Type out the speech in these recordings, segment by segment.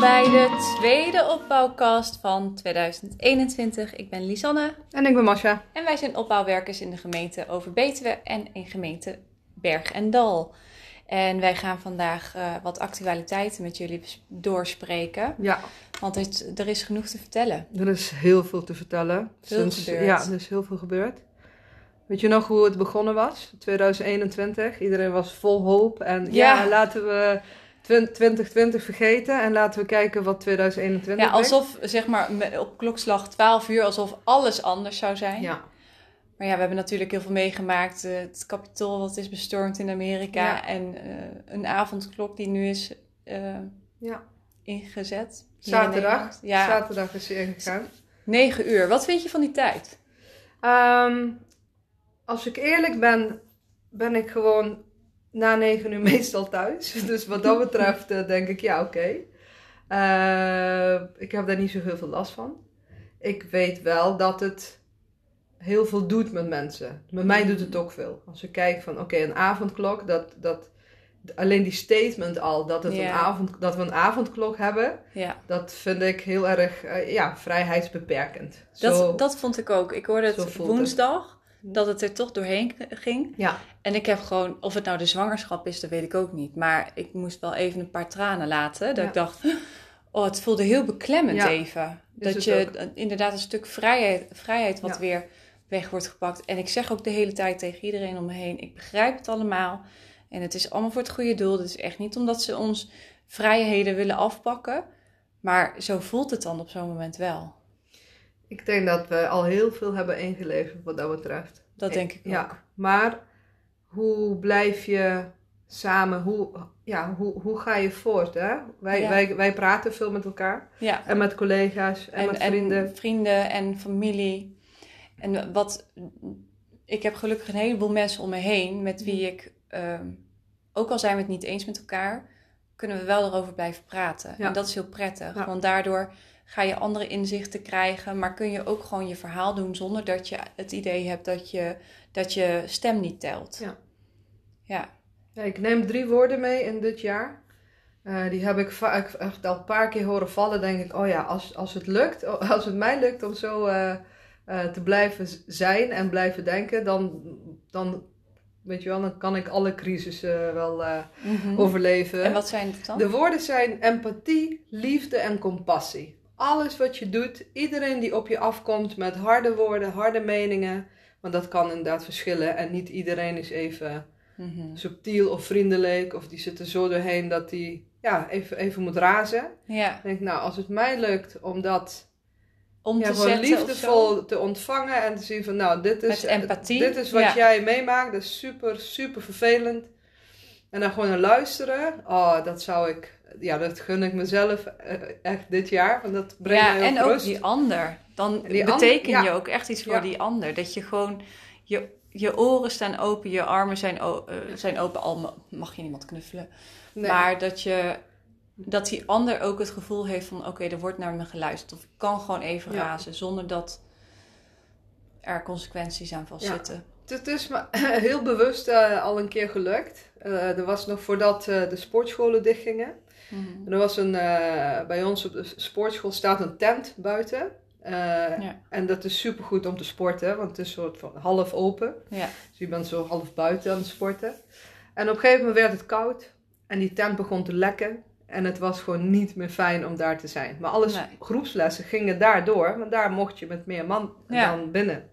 bij de tweede opbouwkast van 2021. Ik ben Lisanne En ik ben Masha. en wij zijn opbouwwerkers in de gemeente Overbetuwe en in gemeente Berg en Dal. En wij gaan vandaag eh, wat actualiteiten met jullie bes- doorspreken, Ja, want het- er is genoeg te vertellen. er is heel veel te vertellen. Veel gebeurd. Ja, er is heel veel gebeurd. Weet je nog hoe het begonnen was? 2021. Iedereen was vol hoop. En ja, Ja. laten we twin- 2020 vergeten en laten we kijken wat 2021 Ja, alsof zeg maar me- op klokslag 12 uur, alsof alles anders zou zijn. brengt. Ja. Maar ja, we hebben natuurlijk heel veel meegemaakt. Eh, het kapitool wat is bestormd in Amerika. Ja. En eh, een avondklok die nu is eh, Ja. ingezet. Hier in Nederland. Zaterdag. Ja, Zaterdag is ze ingegaan. 9 uur. Wat vind je van die tijd? Ehm, als ik eerlijk ben, ben ik gewoon na negen uur meestal thuis. Dus wat dat betreft eh, denk ik, ja, oké. Eh, ik heb daar niet zo heel veel last van. Ik weet wel dat het heel veel doet met mensen. Met mij doet het ook veel. Als ik kijk van, oké, een avondklok, dat, dat, alleen die statement al, dat, het Ja. een avond, dat we een avondklok hebben, Ja, dat vind ik heel erg, eh, ja, vrijheidsbeperkend. Zo- dat, dat vond ik ook. Ik hoorde zo het voelt woensdag. Dat het er toch doorheen k- ging. ja. En ik heb gewoon, of het nou de zwangerschap is, dat weet ik ook niet. Maar ik moest wel even een paar tranen laten. Dat Ja. ik dacht, oh, het voelde heel beklemmend Ja, even. is Dat het je inderdaad een stuk vrijheid, vrijheid wat Ja. weer weg wordt gepakt. En ik zeg ook de hele tijd tegen iedereen om me heen, ik begrijp het allemaal. En het is allemaal voor het goede doel. Het is echt niet omdat ze ons vrijheden willen afpakken. Maar zo voelt het dan op zo'n moment wel. Ik denk dat we al heel veel hebben ingeleverd wat dat betreft. Dat denk ik ook. Eh, Ja, maar hoe blijf je samen? Hoe, ja, hoe, hoe ga je voort? Hè? Wij, Ja. wij, wij praten veel met elkaar ja. en met collega's en, met vrienden. En vrienden en familie. En wat ik heb gelukkig een heleboel mensen om me heen met Mm. wie ik, ehm, ook al zijn we het niet eens met elkaar, kunnen we wel erover blijven praten. Ja. En dat is heel prettig, Ja. want daardoor ga je andere inzichten krijgen, maar kun je ook gewoon je verhaal doen zonder dat je het idee hebt dat je, dat je stem niet telt. Ja. Ja. Ja, ik neem drie woorden mee in dit jaar. Eh, die heb ik vaak echt al een paar keer horen vallen. Denk ik, oh ja, als, als het lukt, oh, als het mij lukt om zo eh, eh, te blijven z- zijn en blijven denken, dan, dan, weet je wel, dan kan ik alle crisissen wel eh, Mhm. overleven. En wat zijn het dan? De woorden zijn empathie, liefde en compassie. Alles wat je doet, iedereen die op je afkomt met harde woorden, harde meningen. Want dat kan inderdaad verschillen en niet iedereen is even Mhm. subtiel of vriendelijk. Of die zit er zo doorheen dat die ja, even, even moet razen. Ja, Ik denk, nou, als het mij lukt om dat om ja, te gewoon zetten of zo. liefdevol te ontvangen en te zien van, nou, dit is, Met empathie, dit is wat ja. jij meemaakt. Dat is super, super vervelend. En dan gewoon naar luisteren. Oh, dat zou ik, ja, dat gun ik mezelf eh, echt dit jaar. Want dat brengt ja, mij en ook ook rust. die ander. Dan En die ander- beteken je ja. ook echt iets voor Ja. die ander. Dat je gewoon je, je oren staan open, je armen zijn, o- eh, zijn open. Al ma- mag je niemand knuffelen. Nee. Maar dat, je, dat die ander ook het gevoel heeft van... oké, er wordt naar me geluisterd. Of ik kan gewoon even Ja. razen zonder dat er consequenties aan vastzitten. Het is me heel bewust eh, al een keer gelukt. Eh, er was nog voordat eh, de sportscholen dichtgingen. Mhm. En er was een, eh, bij ons op de sportschool staat een tent buiten. Eh, Ja. En dat is supergoed om te sporten, want het is soort van half open. Ja. Dus je bent zo half buiten aan het sporten. En op een gegeven moment werd het koud en die tent begon te lekken. En het was gewoon niet meer fijn om daar te zijn. Maar alle Nee. groepslessen gingen daar door, want daar mocht je met meer man Ja. dan binnen.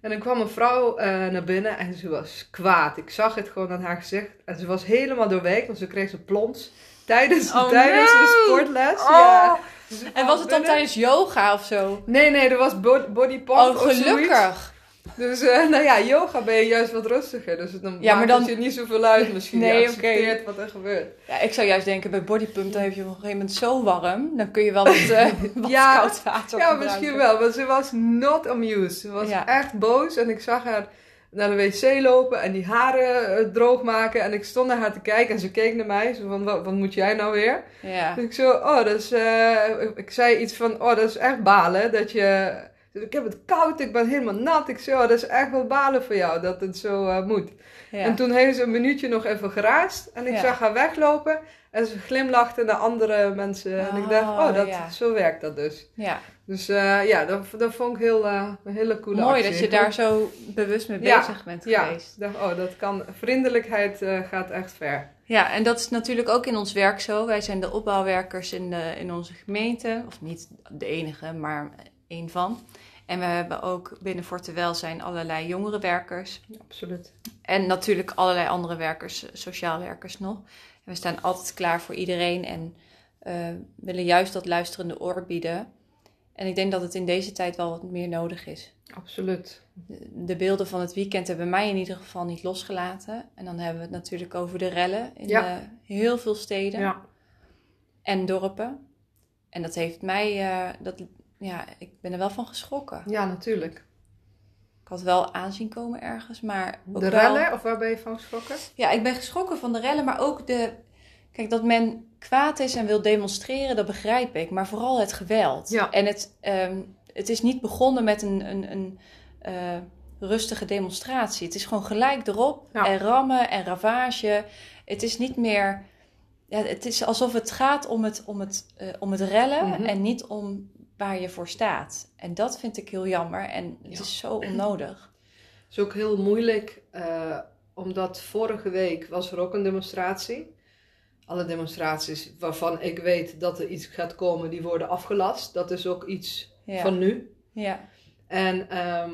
En dan kwam een vrouw eh, naar binnen en ze was kwaad. Ik zag het gewoon aan haar gezicht. En ze was helemaal doorweekt, want ze kreeg ze plons tijdens, Oh, tijdens nee! de sportles. Oh! Ja. Dus En was het dan Binnen. tijdens yoga of zo? Nee, nee, er was bo- body pump Oh, of zoiets. gelukkig. Dus eh, nou ja, yoga ben je juist wat rustiger. Dus het dan Ja, maar maakt dan- het je niet zoveel uit misschien. Nee, je oké. accepteert wat er gebeurt. Ja, ik zou juist denken, bij bodypump dan heb je op een gegeven moment zo warm. Dan kun je wel wat, eh, wat Ja. koud water ja, gebruiken. misschien wel. Maar ze was not amused. Ze was Ja. echt boos. En ik zag haar naar de wc lopen en die haren eh, droog maken. En ik stond naar haar te kijken en ze keek naar mij. Zo van, wat, wat moet jij nou weer? Ja. Dus ik zo, oh, dat is... eh, ik zei iets van, oh, dat is echt balen. Dat je... Dus ik heb het koud, ik ben helemaal nat. Ik zei, oh, dat is echt wel balen voor jou dat het zo eh, moet. Ja. En toen heeft ze een minuutje nog even geraast. En ik Ja. zag haar weglopen. En ze glimlachte naar andere mensen. en ik dacht, Oh, oh, dat, ja. zo werkt dat dus. ja. Dus eh, ja, dat, dat vond ik heel, eh, een hele coole Mooi actie. dat je daar zo bewust mee Ja, bezig bent ja, geweest. ik dacht, oh, dat kan. Vriendelijkheid eh, gaat echt ver. Ja, en dat is natuurlijk ook in ons werk zo. Wij zijn de opbouwwerkers in, de, in onze gemeente. Of niet de enige, maar één van. En we hebben ook binnen Forte Welzijn allerlei jongere werkers. Absoluut. En natuurlijk allerlei andere werkers, eh, sociaal werkers nog. En we staan altijd klaar voor iedereen en eh, willen juist dat luisterende oor bieden. En ik denk dat het in deze tijd wel wat meer nodig is. Absoluut. De beelden van het weekend hebben mij in ieder geval niet losgelaten. En dan hebben we het natuurlijk over de rellen in Ja. eh, heel veel steden Ja. en dorpen. En dat heeft mij, eh, dat, ja, ik ben er wel van geschrokken. ja, natuurlijk. Ik had wel aanzien komen ergens, maar ook De wel- rellen, of waar ben je van geschrokken? Ja, ik ben geschrokken van de rellen, maar ook de... Kijk, dat men kwaad is en wil demonstreren, dat begrijp ik. Maar vooral het geweld. Ja. En het, ehm, het is niet begonnen met een, een, een eh, rustige demonstratie. Het is gewoon gelijk erop Ja. en rammen en ravage. Het is niet meer... Ja, het is alsof het gaat om het, om het, eh, om het rellen Mhm. en niet om waar je voor staat. En dat vind ik heel jammer en het Ja. is zo onnodig. is ook heel moeilijk, eh, omdat vorige week was er ook een demonstratie. Alle demonstraties waarvan ik weet dat er iets gaat komen, die worden afgelast. Dat is ook iets Ja, van nu. ja. En ehm,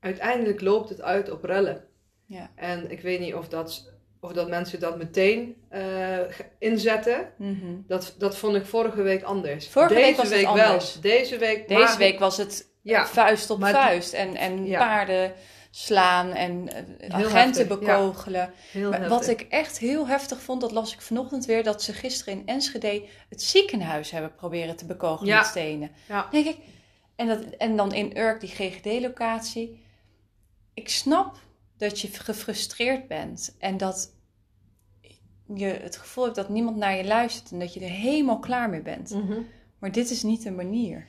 uiteindelijk loopt het uit op rellen. Ja. En ik weet niet of dat, of dat mensen dat meteen eh, ge- inzetten. Mhm. Dat, dat vond ik vorige week anders. Vorige Deze week was het week anders. wel. Deze week, Deze maar- week was het Ja, Eh, vuist op Maar- vuist en, en Ja. paarden slaan en eh, agenten heftig, ja. bekogelen. heel Maar heftig. Wat ik echt heel heftig vond, dat las ik vanochtend weer, dat ze gisteren in Enschede het ziekenhuis hebben proberen te bekogelen Ja. met stenen. Ja. Denk ik, en, dat, en dan in Urk die GGD-locatie. Ik snap dat je gefrustreerd bent en dat je het gevoel hebt dat niemand naar je luistert en dat je er helemaal klaar mee bent. Mhm. Maar dit is niet de manier.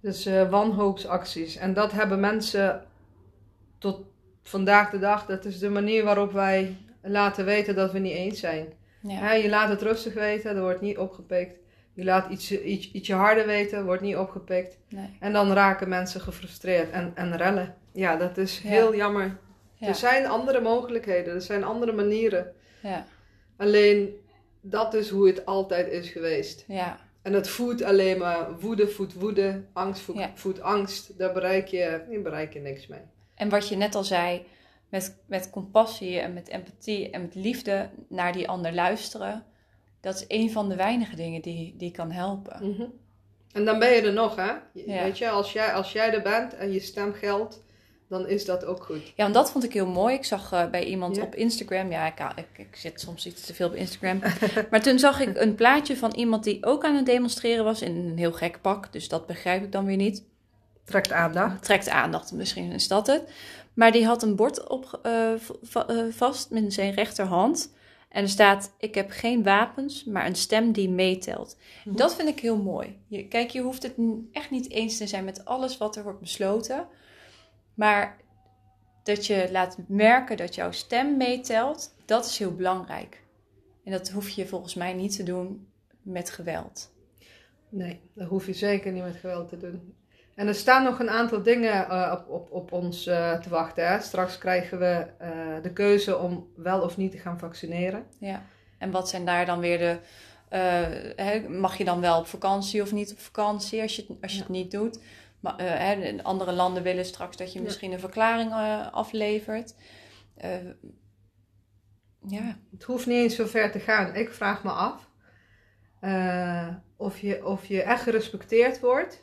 Dus eh, wanhoopsacties. En dat hebben mensen tot vandaag de dag. Dat is de manier waarop wij laten weten dat we niet eens zijn. Ja. Hè, je laat het rustig weten, er wordt niet opgepikt. Je laat iets, iets, ietsje harder weten, wordt niet opgepikt. Nee. En dan raken mensen gefrustreerd en, en rellen. Ja, dat is Ja. heel jammer. Ja. Er zijn andere mogelijkheden, er zijn andere manieren. Ja. Alleen dat is hoe het altijd is geweest. Ja. En dat voedt alleen maar woede, voedt woede, angst voedt, Ja. voedt angst. Daar bereik je, daar bereik je niks mee. En wat je net al zei, met, met compassie en met empathie en met liefde naar die ander luisteren, dat is een van de weinige dingen die, die kan helpen. En dan ben je er nog, hè? Je- Ja. Weet je, als jij, als jij er bent en je stem geldt, dan is dat ook goed. Ja, en dat vond ik heel mooi. Ik zag eh, bij iemand Ja. op Instagram, ja, ik, ik, ik zit soms iets te veel op Instagram, maar toen zag ik een plaatje van iemand die ook aan het demonstreren was in een heel gek pak, dus dat begrijp ik dan weer niet. Trekt aandacht. trekt aandacht, misschien is dat het. Maar die had een bord op, eh, v- va- eh, vast met zijn rechterhand. En er staat: Ik heb geen wapens, maar een stem die meetelt. Mhm. Dat vind ik heel mooi. Je, kijk, je hoeft het n- echt niet eens te zijn met alles wat er wordt besloten. Maar dat je laat merken dat jouw stem meetelt, dat is heel belangrijk. En dat hoef je volgens mij niet te doen met geweld. Nee, dat hoef je zeker niet met geweld te doen. En er staan nog een aantal dingen eh, op, op, op ons eh, te wachten. Hè? Straks krijgen we eh, de keuze om wel of niet te gaan vaccineren. Ja, en wat zijn daar dan weer de. eh, hè, mag je dan wel op vakantie of niet op vakantie als je, het- als je het niet doet? Maar, eh, hè, in andere landen willen straks dat je Ja. misschien een verklaring eh, aflevert. Eh, ja, Het hoeft niet eens zo ver te gaan. Ik vraag me af eh, of, je, of je echt gerespecteerd wordt,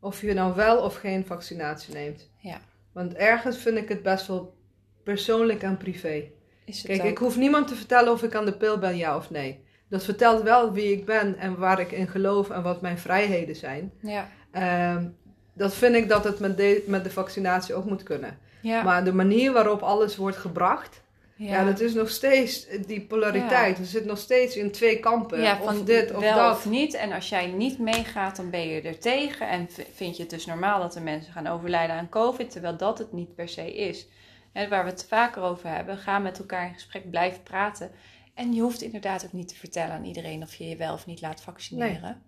of je nou wel of geen vaccinatie neemt. Ja. Want ergens vind ik het best wel persoonlijk en privé. is het Kijk, ook. ik hoef niemand te vertellen of ik aan de pil ben, ja of nee. Dat vertelt wel wie ik ben en waar ik in geloof en wat mijn vrijheden zijn. Ja, Ehm, dat vind ik dat het met de, met de vaccinatie ook moet kunnen. ja, Maar de manier waarop alles wordt gebracht, Ja. dat is nog steeds eh, die polariteit. We zitten nog steeds in twee kampen. Ja, of dit of wel dat. of niet. En als jij niet meegaat, dan ben je er tegen. En v- vind je het dus normaal dat er mensen gaan overlijden aan COVID, terwijl dat het niet per se is. En waar we het vaker over hebben, ga met elkaar in gesprek, blijf praten. En je hoeft inderdaad ook niet te vertellen aan iedereen of je je wel of niet laat vaccineren.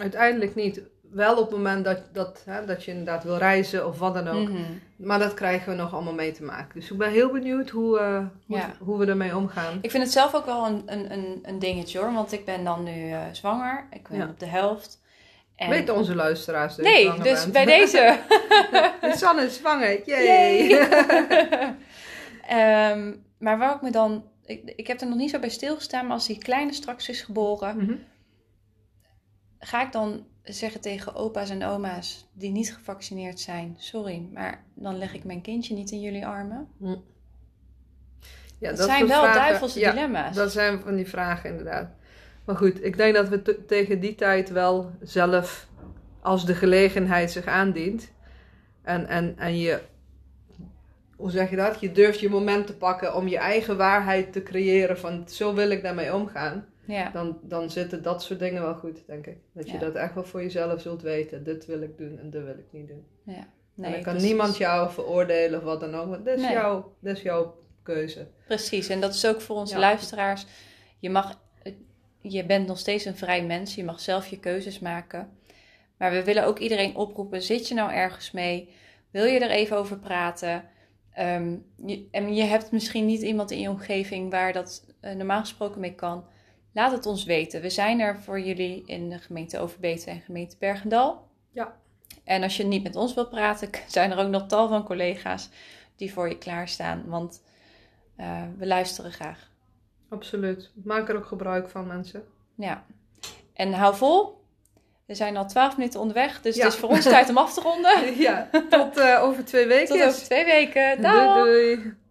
Uiteindelijk niet. Wel op het moment dat, dat, hè, dat je inderdaad wil reizen of wat dan ook. Mhm. Maar dat krijgen we nog allemaal mee te maken. Dus ik ben heel benieuwd hoe, eh, hoe, Ja. hoe we ermee omgaan. Ik vind het zelf ook wel een, een, een, een dingetje hoor, want ik ben dan nu eh, zwanger. Ik ben Ja. op de helft. En... Weten onze luisteraars dat je Nee, zwanger dus bent? bij deze. Sanne is zwanger, yay! Yay. Ehm, maar waar ik me dan. Ik, ik heb er nog niet zo bij stilgestaan, maar als die kleine straks is geboren, Mhm. ga ik dan zeggen tegen opa's en oma's die niet gevaccineerd zijn: Sorry, maar dan leg ik mijn kindje niet in jullie armen. Ja, dat, dat zijn soort wel vragen- duivelse ja, dilemma's. Dat zijn van die vragen inderdaad. Maar goed, ik denk dat we te- tegen die tijd wel zelf, als de gelegenheid zich aandient, en, en, en je, hoe zeg je dat? Je durft je moment te pakken om je eigen waarheid te creëren van zo wil ik daarmee omgaan. Ja. Dan, dan zitten dat soort dingen wel goed, denk ik. Dat je Ja. dat echt wel voor jezelf zult weten. Dit wil ik doen en dit wil ik niet doen. Nee, en dan kan dat is- niemand jou veroordelen of wat dan ook, want dat is, Nee. jouw, dat is jouw keuze. Precies, en dat is ook voor onze Ja. luisteraars. Je, mag, je bent nog steeds een vrij mens, je mag zelf je keuzes maken. Maar we willen ook iedereen oproepen: zit je nou ergens mee? Wil je er even over praten? Ehm, je, en je hebt misschien niet iemand in je omgeving waar dat eh, normaal gesproken mee kan. Laat het ons weten. We zijn er voor jullie in de gemeente Overbeten en gemeente Bergendal. Ja. En als je niet met ons wilt praten, zijn er ook nog tal van collega's die voor je klaarstaan. Want eh, we luisteren graag. Absoluut. Maak er ook gebruik van, mensen. Ja. En hou vol. We zijn al twaalf minuten onderweg, dus Ja. het is voor ons tijd om af te ronden. ja, tot eh, over twee weken. Tot over twee weken. Dag! Doei doei.